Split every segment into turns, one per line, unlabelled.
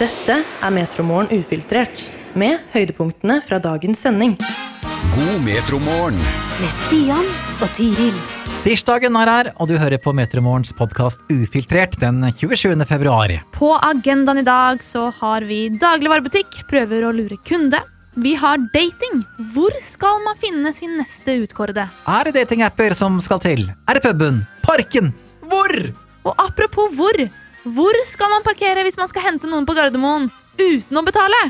Dette er Metromorgen ufiltrert, med høydepunktene fra dagens sending.
God metromorgen.
med Stian og Tiril.
Tirsdagen er her, og du hører på Metromorgens podkast Ufiltrert den 27. februar.
På agendaen i dag så har vi dagligvarebutikk, prøver å lure kunde. Vi har dating. Hvor skal man finne sin neste utkårede?
Er det datingapper som skal til? Er det puben? Parken? Hvor?
Og apropos hvor. Hvor skal man parkere hvis man skal hente noen på Gardermoen uten å betale?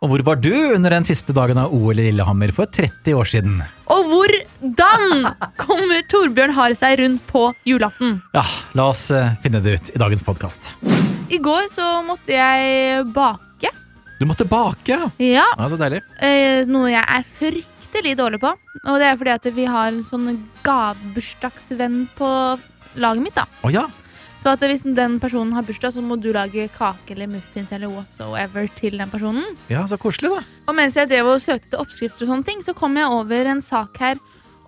Og hvor var du under den siste dagen av OL i Lillehammer for 30 år siden?
Og hvordan kommer Torbjørn Hare seg rundt på julaften?
Ja, la oss eh, finne det ut i dagens podkast.
I går så måtte jeg bake.
Du måtte bake, ja.
Ja,
Ja, Så deilig.
eh, noe jeg er fryktelig dårlig på. Og det er fordi at vi har en sånn gavebursdagsvenn på laget mitt, da.
Å ja.
Så at hvis den personen har bursdag, så må du lage kake eller muffins eller whatsoever til den personen.
Ja, så koselig, da.
Og mens jeg drev og søkte til oppskrifter og sånne ting, så kom jeg over en sak her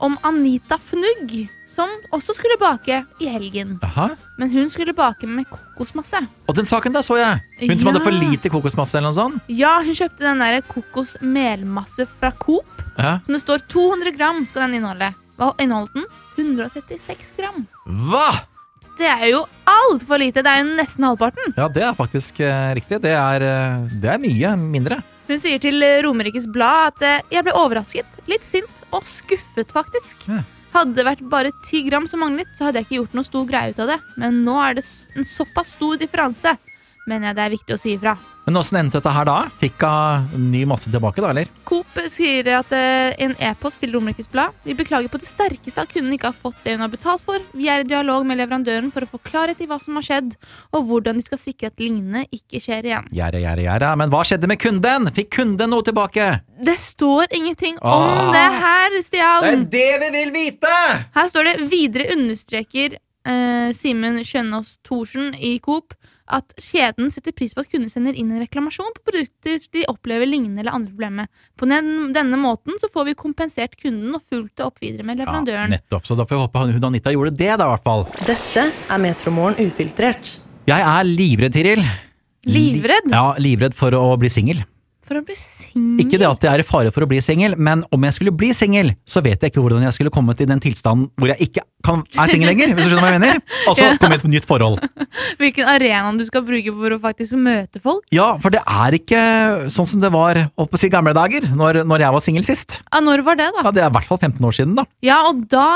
om Anita Fnugg, som også skulle bake i helgen.
Jaha.
Men hun skulle bake med kokosmasse.
Og den saken der så jeg. Hun som
Ja.
hadde for lite kokosmasse eller noe sånt.
Ja, hun kjøpte den der kokosmelmasse fra Coop.
Ja.
Som det står 200 gram skal den inneholde. Hva inneholdt den? 136 gram.
Hva?!
Det er jo altfor lite. Det er jo nesten halvparten.
Ja, det er faktisk eh, riktig. Det er, eh, det er mye mindre.
Hun sier til Romerikes Blad at eh, jeg ble overrasket, litt sint og skuffet faktisk.
Ja.
Hadde det vært bare 10 gram som manglet, så hadde jeg ikke gjort noe stor greie ut av det. Men nå er det s- en såpass stor differanse, mener jeg det er viktig å si ifra.
Men åssen endte dette her da? Fikk hun ny masse tilbake da, eller?
Coop sier at eh, i en e-post til Romerikes Blad Vi beklager på det sterkeste at kunden ikke har fått det hun har betalt for. Vi er i dialog med leverandøren for å få klarhet i hva som har skjedd, og hvordan de skal sikre at lignende ikke skjer igjen.
Gjerre, gjerre, gjerre. Men hva skjedde med kunden? Fikk kunden noe tilbake?
Det står ingenting
Ah.
om det her, Stian!
det vi vil vite!
Her står det videre understreker eh, Simen Kjønaas Thorsen i Coop at kjeden setter pris på at kunder sender inn en reklamasjon på produkter de opplever lignende eller andre problemer. På den, denne måten så får vi kompensert kunden og fulgt det opp videre med
Ja,
leverandøren.
nettopp. Så da får vi håpe hun Anita gjorde det, da, i hvert fall.
Dette er Metromorgen ufiltrert.
Jeg er livredd, Tiril.
Livredd?
Li- Ja, livredd for å bli singel.
for å bli singel
Ikke det at jeg er i fare for å bli singel, men om jeg skulle bli singel, så vet jeg ikke hvordan jeg skulle kommet i den tilstanden hvor jeg ikke kan, er singel lenger, hvis du skjønner hva jeg mener? Altså, komme i et nytt forhold.
Hvilken arena du skal bruke for å faktisk møte folk.
Ja, for det er ikke sånn som det var holdt på å si, i gamle dager, når, når jeg var singel sist.
Ja, når var det, da?
Ja, Det er i hvert fall 15 år siden, da.
Ja, og da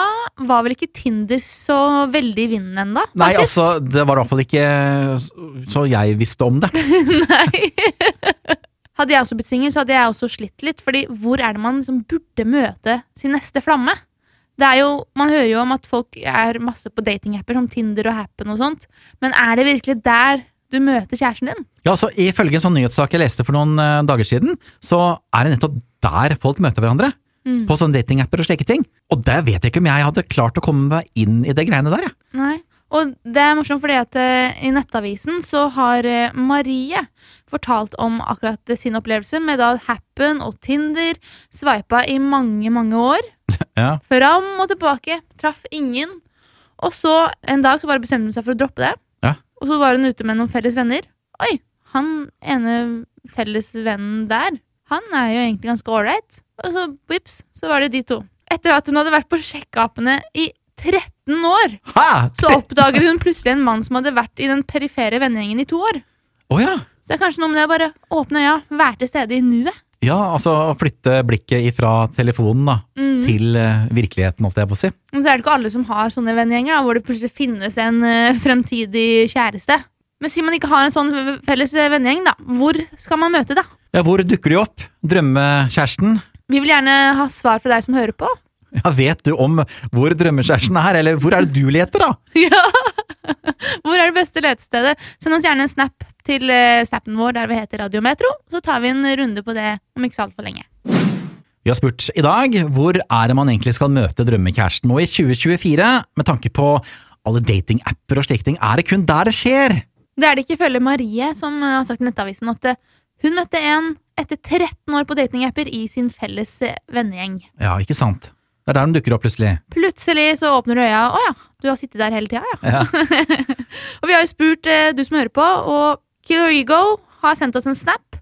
var vel ikke Tinder så veldig i vinden ennå?
Nei, altså, det var i hvert fall ikke så jeg visste om det.
Nei. Hadde jeg også blitt singel, så hadde jeg også slitt litt. Fordi hvor er det man liksom burde møte sin neste flamme? Det er jo, Man hører jo om at folk er masse på datingapper som Tinder og Happen og sånt. Men er det virkelig der du møter kjæresten din?
Ja, så Ifølge en sånn nyhetssak jeg leste for noen eh, dager siden, så er det nettopp der folk møter hverandre.
Mm.
På sånne datingapper og slike ting. Og der vet jeg ikke om jeg hadde klart å komme meg inn i det greiene der, jeg.
Nei. Og det er morsomt fordi at eh, i Nettavisen så har eh, Marie fortalt om akkurat eh, sin opplevelse med da Happen og Tinder. Sveipa i mange, mange år.
Ja.
Fram og tilbake. Traff ingen. Og så en dag så bare bestemte hun seg for å droppe det.
Ja.
Og så var hun ute med noen felles venner. Oi, han ene felles vennen der, han er jo egentlig ganske ålreit. Og så vips, så var det de to. Etter at hun hadde vært på sjekkeapene i 13 år,
Hæ?
så oppdaget hun plutselig en mann som hadde vært i den perifere vennegjengen i to år.
Å ja.
Så det er kanskje noe med det å bare åpne øya, være til stede i nuet.
Ja, altså å flytte blikket ifra telefonen da,
Mm.
til eh, virkeligheten, holdt jeg på å si.
Men så er det ikke alle som har sånne vennegjenger, da, hvor det plutselig finnes en eh, fremtidig kjæreste. Men sier man ikke har en sånn v- felles eh, vennegjeng, da, hvor skal man møte, da?
Ja, hvor dukker de opp? Drømmekjæresten?
Vi vil gjerne ha svar fra deg som hører på.
Ja, vet du om hvor drømmekjæresten er, eller hvor er det du leter, da?
ja! Hvor er det beste letestedet? Send oss gjerne en snap til eh, snappen vår der vi heter Radiometro, så tar vi en runde på det om ikke så altfor lenge.
Vi har spurt i dag hvor er det man egentlig skal møte drømmekjæresten nå i 2024, med tanke på alle datingapper og slike ting. Er det kun der det skjer?
Det er det ikke ifølge Marie, som eh, har sagt i Nettavisen at eh, hun møtte en etter 13 år på datingapper i sin felles eh, vennegjeng.
Ja, ikke sant? Det er der de dukker opp plutselig.
Plutselig så åpner du øya. Å ja, du har sittet der hele tida, ja.
Ja.
og vi har jo spurt eh, du som hører på, og Kyrigo har sendt oss en snap.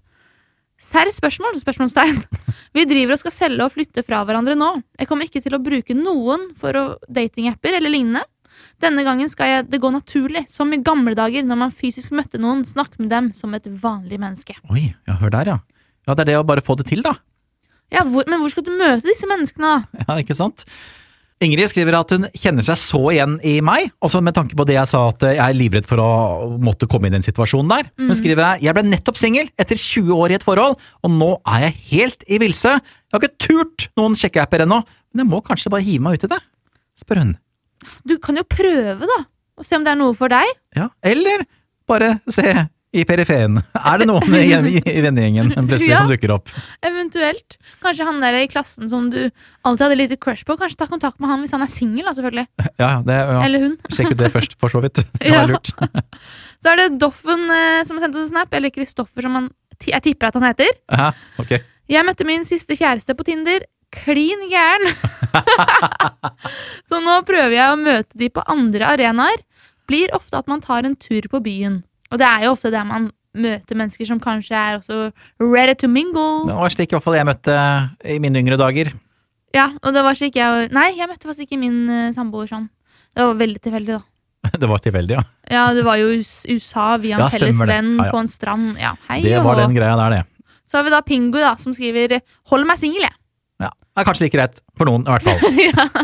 Serr spørsmål? Spørsmålstegn. Vi driver og skal selge og flytte fra hverandre nå. Jeg kommer ikke til å bruke noen for å- datingapper eller lignende. Denne gangen skal jeg det gå naturlig, som i gamle dager når man fysisk møtte noen, snakke med dem som et vanlig menneske.
Oi, ja, hør der, ja. Ja, det er det å bare få det til, da.
Ja, hvor, Men hvor skal du møte disse menneskene, da?
Ja, ikke sant? Ingrid skriver at hun kjenner seg så igjen i meg, også med tanke på det jeg sa at jeg er livredd for å måtte komme inn i den situasjonen der.
Mm.
Hun skriver her, jeg ble nettopp singel etter 20 år i et forhold, og nå er jeg helt i vilse. Jeg har ikke turt noen sjekkeapper ennå, men jeg må kanskje bare hive meg ut i det, spør hun.
Du kan jo prøve, da. Og se om det er noe for deg.
Ja, eller bare se i periferien. Er det noen i, i, i vennegjengen plutselig
Ja.
som dukker opp?
Eventuelt. Kanskje han der i klassen som du alltid hadde lite crush på. Kanskje ta kontakt med han hvis han er singel, da, selvfølgelig.
Ja, ja, det, ja.
Eller hun.
Sjekk ut det først, for så vidt. Det var
Ja.
lurt.
Så er det Doffen eh, som har sendt oss en snap, eller Kristoffer som han, ti- jeg tipper at han heter.
Ja, ok.
Jeg møtte min siste kjæreste på Tinder. Klin gæren! så nå prøver jeg å møte de på andre arenaer. Blir ofte at man tar en tur på byen. Og det er jo ofte der man møter mennesker som kanskje er også ready to mingle.
Det var slik i hvert fall jeg møtte eh, i mine yngre dager.
Ja, og det var slik jeg Nei, jeg møtte faktisk ikke min eh, samboer sånn. Det var veldig tilfeldig, da.
Det var tilfeldig, ja.
Ja, det var jo i s- USA via en
Ja,
felles
stemmer det.
venn
Ja, ja.
på en strand. Ja, hei
Det
og
var den greia der, det.
Så har vi da Pingu, da, som skriver 'Hold meg singel, jeg'.
Ja, det er kanskje like greit for noen, i hvert fall.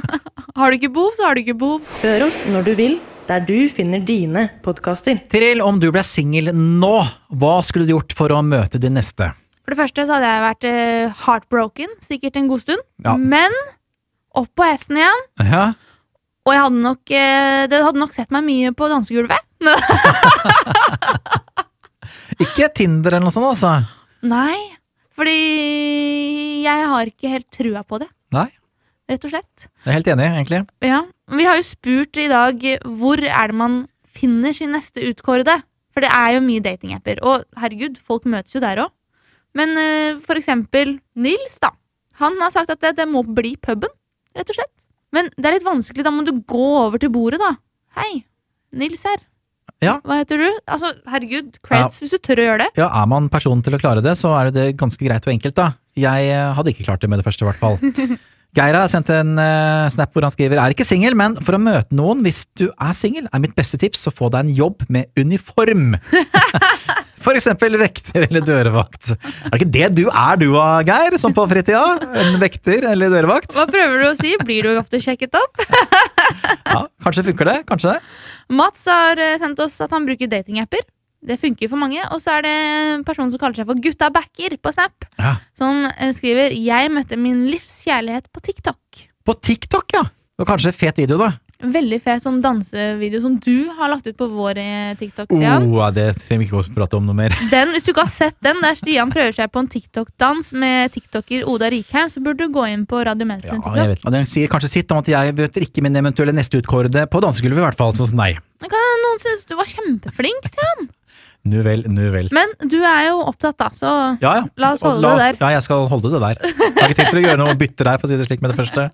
Har du ikke behov, så har du ikke behov.
Hør oss når du vil, der du finner dine podkaster.
Tiril, om du ble singel nå, hva skulle du gjort for å møte din neste?
For det første så hadde jeg vært eh, heartbroken sikkert en god stund.
Ja.
Men opp på hesten igjen.
Ja,
Og jeg hadde nok, eh, det hadde nok sett meg mye på dansegulvet.
ikke Tinder eller noe sånt, altså.
Nei, fordi jeg har ikke helt trua på det,
Nei,
rett og slett.
jeg er helt enig, egentlig.
Ja, Vi har jo spurt i dag hvor er det man finner sin neste utkårede. For det er jo mye datingapper. Og herregud, folk møtes jo der òg. Men eh, for eksempel Nils, da. Han har sagt at det, det må bli puben, rett og slett. Men det er litt vanskelig. Da må du gå over til bordet, da. Hei, Nils her.
Ja.
Hva heter du? Altså, herregud, creds hvis du tør å gjøre det.
Ja, er man personen til å klare det, så er det det ganske greit og enkelt, da. Jeg eh, hadde ikke klart det med det første, i hvert fall. Geir har sendt en eh, snap hvor han skriver er ikke singel, men for å møte noen hvis du er singel, er mitt beste tips å få deg en jobb med uniform. For eksempel vekter eller dørvakt. Er det ikke det du er du da, Geir, som på fritida? En vekter eller dørvakt?
Hva prøver du å si? Blir du ofte sjekket opp?
Ja, kanskje funker det? Kanskje det?
Mats har eh, sendt oss at han bruker datingapper. Det funker for mange. Og så er det en person som kaller seg for Gutta Backer på Snap,
Ja.
som eh, skriver 'Jeg møtte min livs kjærlighet på TikTok'.
På TikTok, ja. Og kanskje fet video, da.
Veldig fet sånn dansevideo som du har lagt ut på vår eh, TikTok, Stian.
Oh, det trenger vi ikke å prate om noe mer.
Den, hvis du ikke har sett den, der Stian prøver seg på en TikTok-dans med tiktoker Oda Rikheim, så burde du gå inn på Radio
Ja,
Mentor
jeg
sin TikTok.
vet. Og Den sier kanskje sitt om at jeg møter ikke min eventuelle neste utkårede på dansegulvet, i hvert fall. Sånn som deg.
Kan noen synes du var kjempeflink, Stian?
Nu vel, nu vel.
Men du er jo opptatt, da, så
Ja, ja.
La oss
Og
holde det der.
Ja, jeg skal holde det der. Jeg har ikke tenkt til å gjøre noe bytte der, for å si det slik med det første.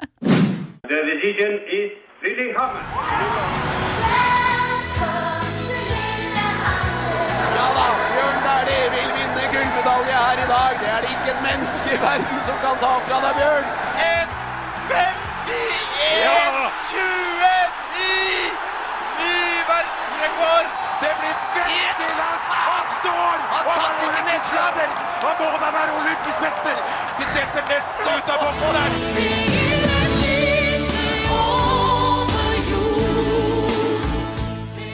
The decision is Lillehammer.
Ja da, Bjørn Dæhlie vil vinne gullmedalje her i dag. Det er det ikke et menneske i verden som kan ta fra deg, Bjørn. 1.51,29! Ny verdensrekord! Det blir veldig langt. Han står! Han satt ikke nedslagen! Han må da være olympisk Vi setter nesten ut av boksen der.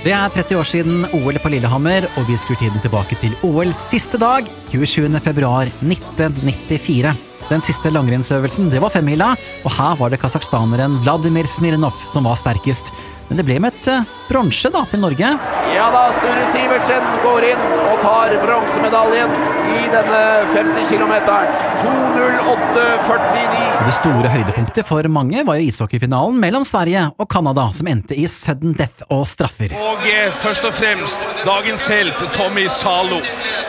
Det er 30 år siden OL på Lillehammer, og vi skrur tiden tilbake til OL siste dag, 27. februar 1994. Den siste langrennsøvelsen det var femmila, og her var det kasakhstaneren Vladimir Smirnov som var sterkest. Men det ble med et eh, bronse da til Norge.
Ja da, Sture Sivertsen går inn og tar bronsemedaljen i denne 50 kilometeren. 2.08,49.
Det store høydepunktet for mange var jo ishockeyfinalen mellom Sverige og Canada, som endte i sudden death og straffer.
Og eh, først og fremst dagens helt, Tommy Zalo.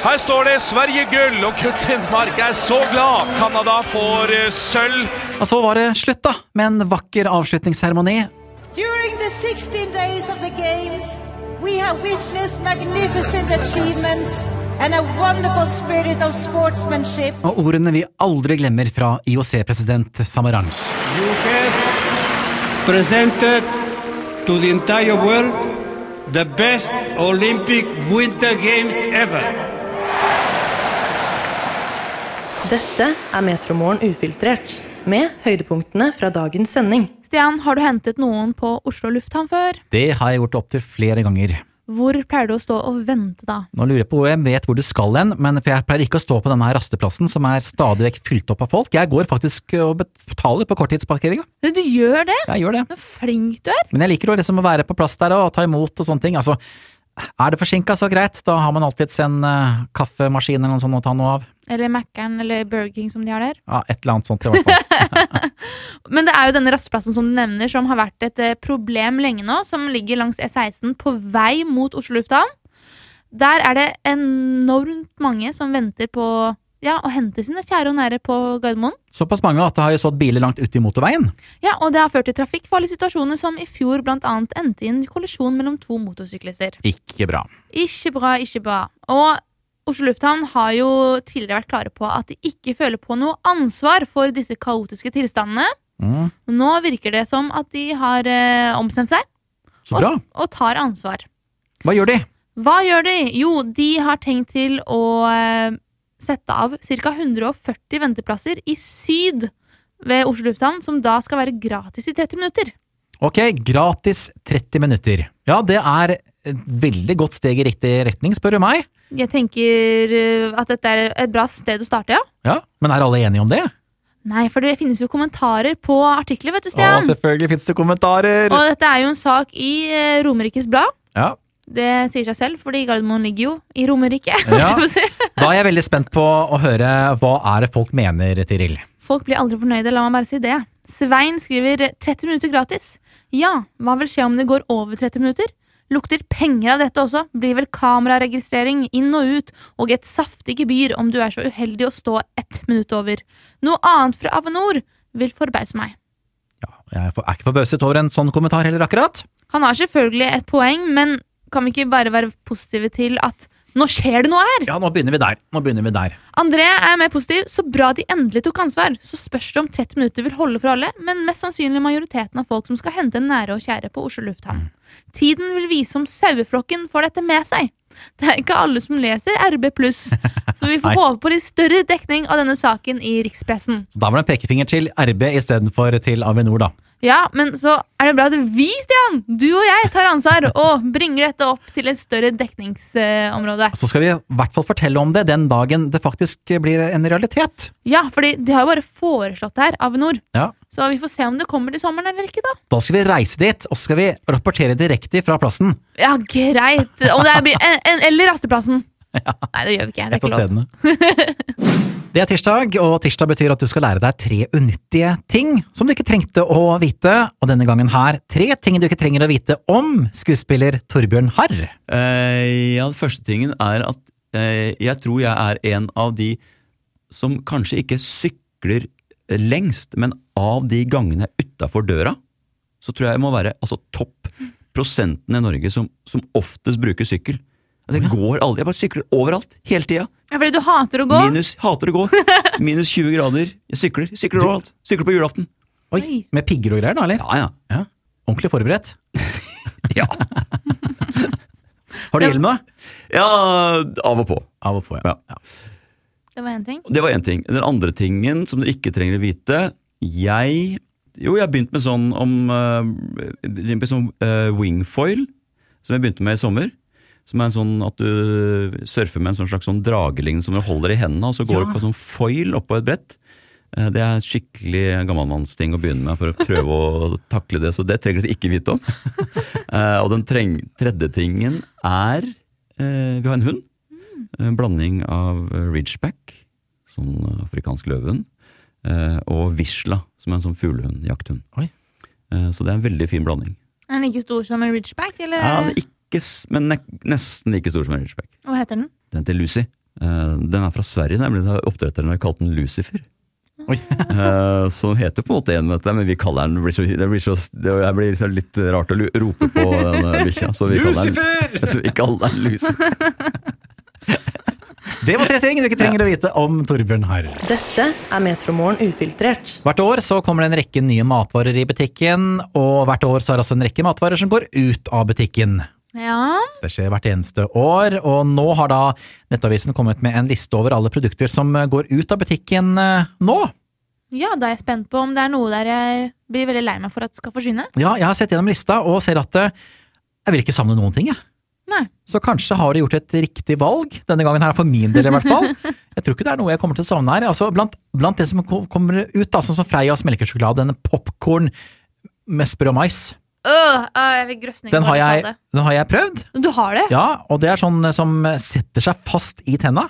Her står det 'Sverige gull', og Kurt Lindmark er så glad. Canada får eh, sølv.
Og så var det slutt, da, med en vakker avslutningsseremoni.
During the 16 days of the Games, We have witnessed magnificent achievements and a wonderful spirit of sportsmanship.
Og ordene vi aldri glemmer fra IOC-president Samaranch.
You have presented to the entire world the best Olympic Winter Games ever.
Dette er Metromorgen ufiltrert, med høydepunktene fra dagens sending.
Stian, har du hentet noen på Oslo lufthavn før?
Det har jeg gjort opptil flere ganger.
Hvor pleier du å stå og vente da?
Nå lurer jeg på hvor jeg vet hvor du skal hen, men for jeg pleier ikke å stå på denne her rasteplassen som er stadig vekk fylt opp av folk. Jeg går faktisk eh, og betaler på korttidsparkeringa.
Men Du gjør det?
Jeg gjør det.
Så flink du er!
Men jeg liker å liksom å være på plass der og ta imot og sånne ting. Altså, er det forsinka, så greit. Da har man alltids en eh, kaffemaskin eller noe sånt å ta noe av.
Eller Mækkern eller Burger King som de har der.
Ja, et eller annet sånt i hvert fall.
Men det er jo denne rasteplassen som du nevner, som har vært et eh, problem lenge nå, som ligger langs E16 på vei mot Oslo lufthavn. Der er det enormt mange som venter på ja, å hente sine kjære og nære på Gardermoen.
Såpass mange at det har jo stått biler langt ute i motorveien.
Ja, og det har ført til trafikkfarlige situasjoner som i fjor blant annet endte i en kollisjon mellom to motorsyklister.
Ikke bra.
Ikke bra, ikke bra. Og Oslo lufthavn har jo tidligere vært klare på at de ikke føler på noe ansvar for disse kaotiske tilstandene.
Mm,
Nå virker det som at de har eh, ombestemt seg
så bra.
og tar ansvar.
Hva gjør de?
Hva gjør de? Jo, de har tenkt til å eh, sette av ca. 140 venteplasser i syd ved Oslo lufthavn, som da skal være gratis i 30 minutter.
Ok, gratis 30 minutter. Ja, det er et veldig godt steg i riktig retning, spør du meg.
Jeg tenker eh, at dette er et bra sted å starte, ja.
Ja, Men er alle enige om det?
Nei, for det finnes jo kommentarer på artikler, vet du,
Å,
Stian.
selvfølgelig fins det kommentarer!
Og dette er jo en sak i eh, Romerikes Blad.
Ja.
Det sier seg selv, fordi Gardermoen ligger jo i Romerike. holdt
Ja.
jeg på å si.
Da er jeg veldig spent på å høre hva er det folk mener, Tiril.
Folk blir aldri fornøyde, la meg bare si det. Svein skriver 30 minutter gratis. Ja, hva vil skje om det går over 30 minutter? Lukter penger av dette også, blir vel kameraregistrering inn og ut, og et saftig gebyr om du er så uheldig å stå ett minutt over. Noe annet fra Avinor vil forbause meg.
Jeg er for- er ikke forbauset over en sånn kommentar heller, akkurat.
Han har selvfølgelig et poeng, men kan vi ikke bare være positive til at nå skjer det noe her?
Ja, nå begynner vi der. Nå begynner vi der.
André er mer positiv. Så bra de endelig tok ansvar. Så spørs det om 30 minutter vil holde for alle, men mest sannsynlig majoriteten av folk som skal hente en nære og kjære på Oslo lufthavn.
Mm.
Tiden vil vise om saueflokken får dette med seg. Det er ikke alle som leser RB+, så vi
Nei.
får håpe på litt større dekning av denne saken i rikspressen.
Da var det en pekefinger til RB istedenfor til Avinor, da.
Ja, men så er det bra at vi, Stian, du og jeg, tar ansvar og bringer dette opp til et større dekningsområde.
Så skal vi i hvert fall fortelle om det den dagen det faktisk blir en realitet.
Ja, fordi de har jo bare foreslått det her, Avinor.
Ja.
Så vi får se om det kommer til sommeren eller ikke, da.
Da skal vi reise dit, og så skal vi rapportere direkte fra plassen.
Ja, greit. Om det blir en, en, eller rasteplassen. Nei, det gjør vi ikke. Det er
Et av
ikke lov.
stedene. Det er tirsdag, og tirsdag betyr at du skal lære deg tre unyttige ting som du ikke trengte å vite. Og denne gangen her tre ting du ikke trenger å vite om skuespiller Torbjørn Harr.
Eh, ja, den første tingen er at eh, jeg tror jeg er en av de som kanskje ikke sykler lengst, men av de gangene utafor døra, så tror jeg jeg må være altså, topp prosenten i Norge som, som oftest bruker sykkel. Altså, jeg går aldri, jeg bare sykler overalt, hele tida.
Ja, fordi du hater å gå.
Minus, hater å gå. Minus 20 grader. Jeg sykler, sykler overalt. Sykler på julaften.
Oi,
Oi.
Med pigger og greier, da, eller?
Ja, ja.
Ja. Ordentlig forberedt.
Ja,
Har du hjelm, da?
ja av og på.
Av og på, ja.
Ja.
Det var én ting.
Det var én ting. Den andre tingen som dere ikke trenger å vite Jeg Jo, jeg har begynt med sånn om eh, begynt med sånn eh, wingfoil, som jeg begynte med i sommer. Som er en sånn at du surfer med en sånn slags sånn dragelignende som du holder i hendene, og så går
Ja.
du på sånn foil oppå et brett. Eh, Det er skikkelig gammalmannsting å begynne med for å prøve å takle det, så det trenger dere ikke vite om. Eh, Og den treng, tredje tingen er eh, Vi har en hund. En blanding av eh, ridgeback, sånn eh, afrikansk løvehund, eh, og visla, som er en sånn fuglehund, jakthund.
Oi.
Eh, Så det er en veldig fin blanding.
Er den like stor som en ridgeback, eller?
Ja, den er ikke, s- men ne nesten like stor som en ridgeback.
Hva heter den?
Den heter Lucy. Eh, Den er fra Sverige, nemlig. Da Oppdretteren har kalt den Lucifer. eh, som heter på en måte én meter, men vi kaller den det blir så, det blir så, det blir liksom litt rart å lu- rope på den eh, bikkja. så vi kaller den-
Lucifer!
Så vi kaller den Lucifer.
Det var tre ting du ikke trenger å vite om Torbjørn Harr.
Dette er Metromorgen ufiltrert.
Hvert år så kommer det en rekke nye matvarer i butikken, og hvert år så er det også en rekke matvarer som går ut av butikken.
Ja.
Det skjer hvert eneste år, og nå har da Nettavisen kommet med en liste over alle produkter som eh, går ut av butikken eh, nå.
ja, da er jeg spent på om det er noe der jeg blir veldig lei meg for at skal forsvinne.
Ja, jeg har sett gjennom lista og ser at eh, jeg vil ikke savne noen ting, jeg.
Nei.
Så kanskje har de gjort et riktig valg, denne gangen her for min del i hvert fall. Jeg tror ikke det er noe jeg kommer til å savne her. Altså, blant, blant det som ko- kommer ut, da, sånn som Freias melkesjokolade, denne popkorn med sprø mais,
Øh, øh, jeg fikk grøsning
den har,
bare du sa
jeg, den har jeg prøvd.
det. Du har det?
Ja, og det er sånn som setter seg fast i tenna.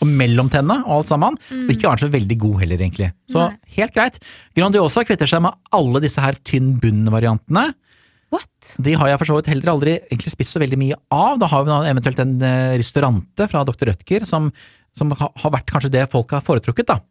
Og mellom tenna og alt sammen. Og ikke er den så veldig god heller, egentlig. Så
Nei.
helt greit. Grandiosa kvitter seg med alle disse her tynn bunn-variantene.
What?
De har jeg for så vidt heller aldri egentlig spist så veldig mye av. Da har vi da eventuelt en eh, restaurante fra Dr. Rødtger som, som ha- har vært kanskje det folk har foretrukket, da.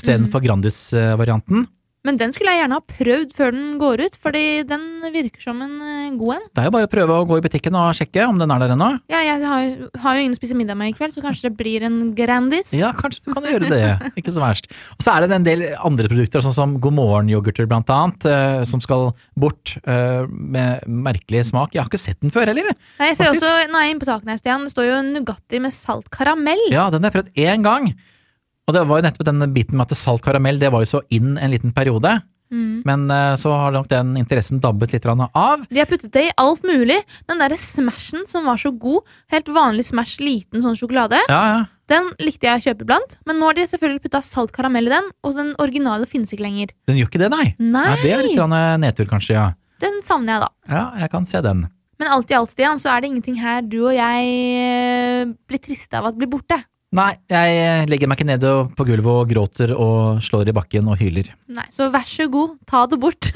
Istedenfor eh, Grandis-varianten.
Men den skulle jeg gjerne ha prøvd før den går ut, fordi den virker som en eh, god en.
Det er jo bare å prøve å gå i butikken og sjekke om den er der ennå.
Ja, jeg har, jo- har jo ingen å spise middag med i kveld, så kanskje det blir en Grandis.
Ja, kanskje du kan gjøre det. Ikke så verst. Og så er det en del andre produkter, sånn som God morgen-yoghurter blant annet, eh, som skal bort eh, med merkelig smak. Jeg har ikke sett den før heller. jeg.
Nei, jeg ser
Faktisk.
også, nå er jeg inne på saken her, Stian, det står jo Nugatti med salt karamell.
Ja, den har jeg prøvd én gang. Og det var jo nettopp den biten med at salt karamell, det var jo så inn en liten periode. Men eh, så har nok den interessen dabbet litt grann av.
De har puttet det i alt mulig. Den derre Smashen som var så god, helt vanlig Smash liten sånn sjokolade,
Ja, ja.
den likte jeg å kjøpe iblant. Men nå har de selvfølgelig putta salt karamell i den, og den originale finnes ikke lenger.
Den gjør ikke det, nei.
Nei.
Ja, det er litt grann eh, nedtur, kanskje. Ja.
Den savner jeg, da.
ja, jeg kan se den.
Men alt i alt, Stian, så er det ingenting her du og jeg eh, blir triste av at blir borte.
Nei, jeg eh, legger meg ikke ned og- på gulvet og gråter og slår i bakken og hyler.
Nei, Så vær så god, ta det bort.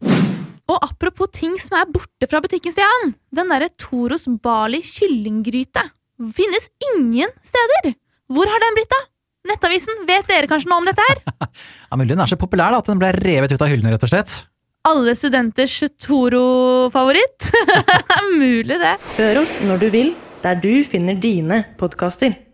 og apropos ting som er borte fra butikken, Stian. Den derre Toros Bali kyllinggryte finnes ingen steder. Hvor har den blitt av? Nettavisen, vet dere kanskje noe om dette her?
Ja, Mulig den er så populær da, at den ble revet ut av hyllene, rett og slett.
Alle studenters Toro-favoritt. Mulig det.
Hør oss når du vil, der du finner dine podkaster.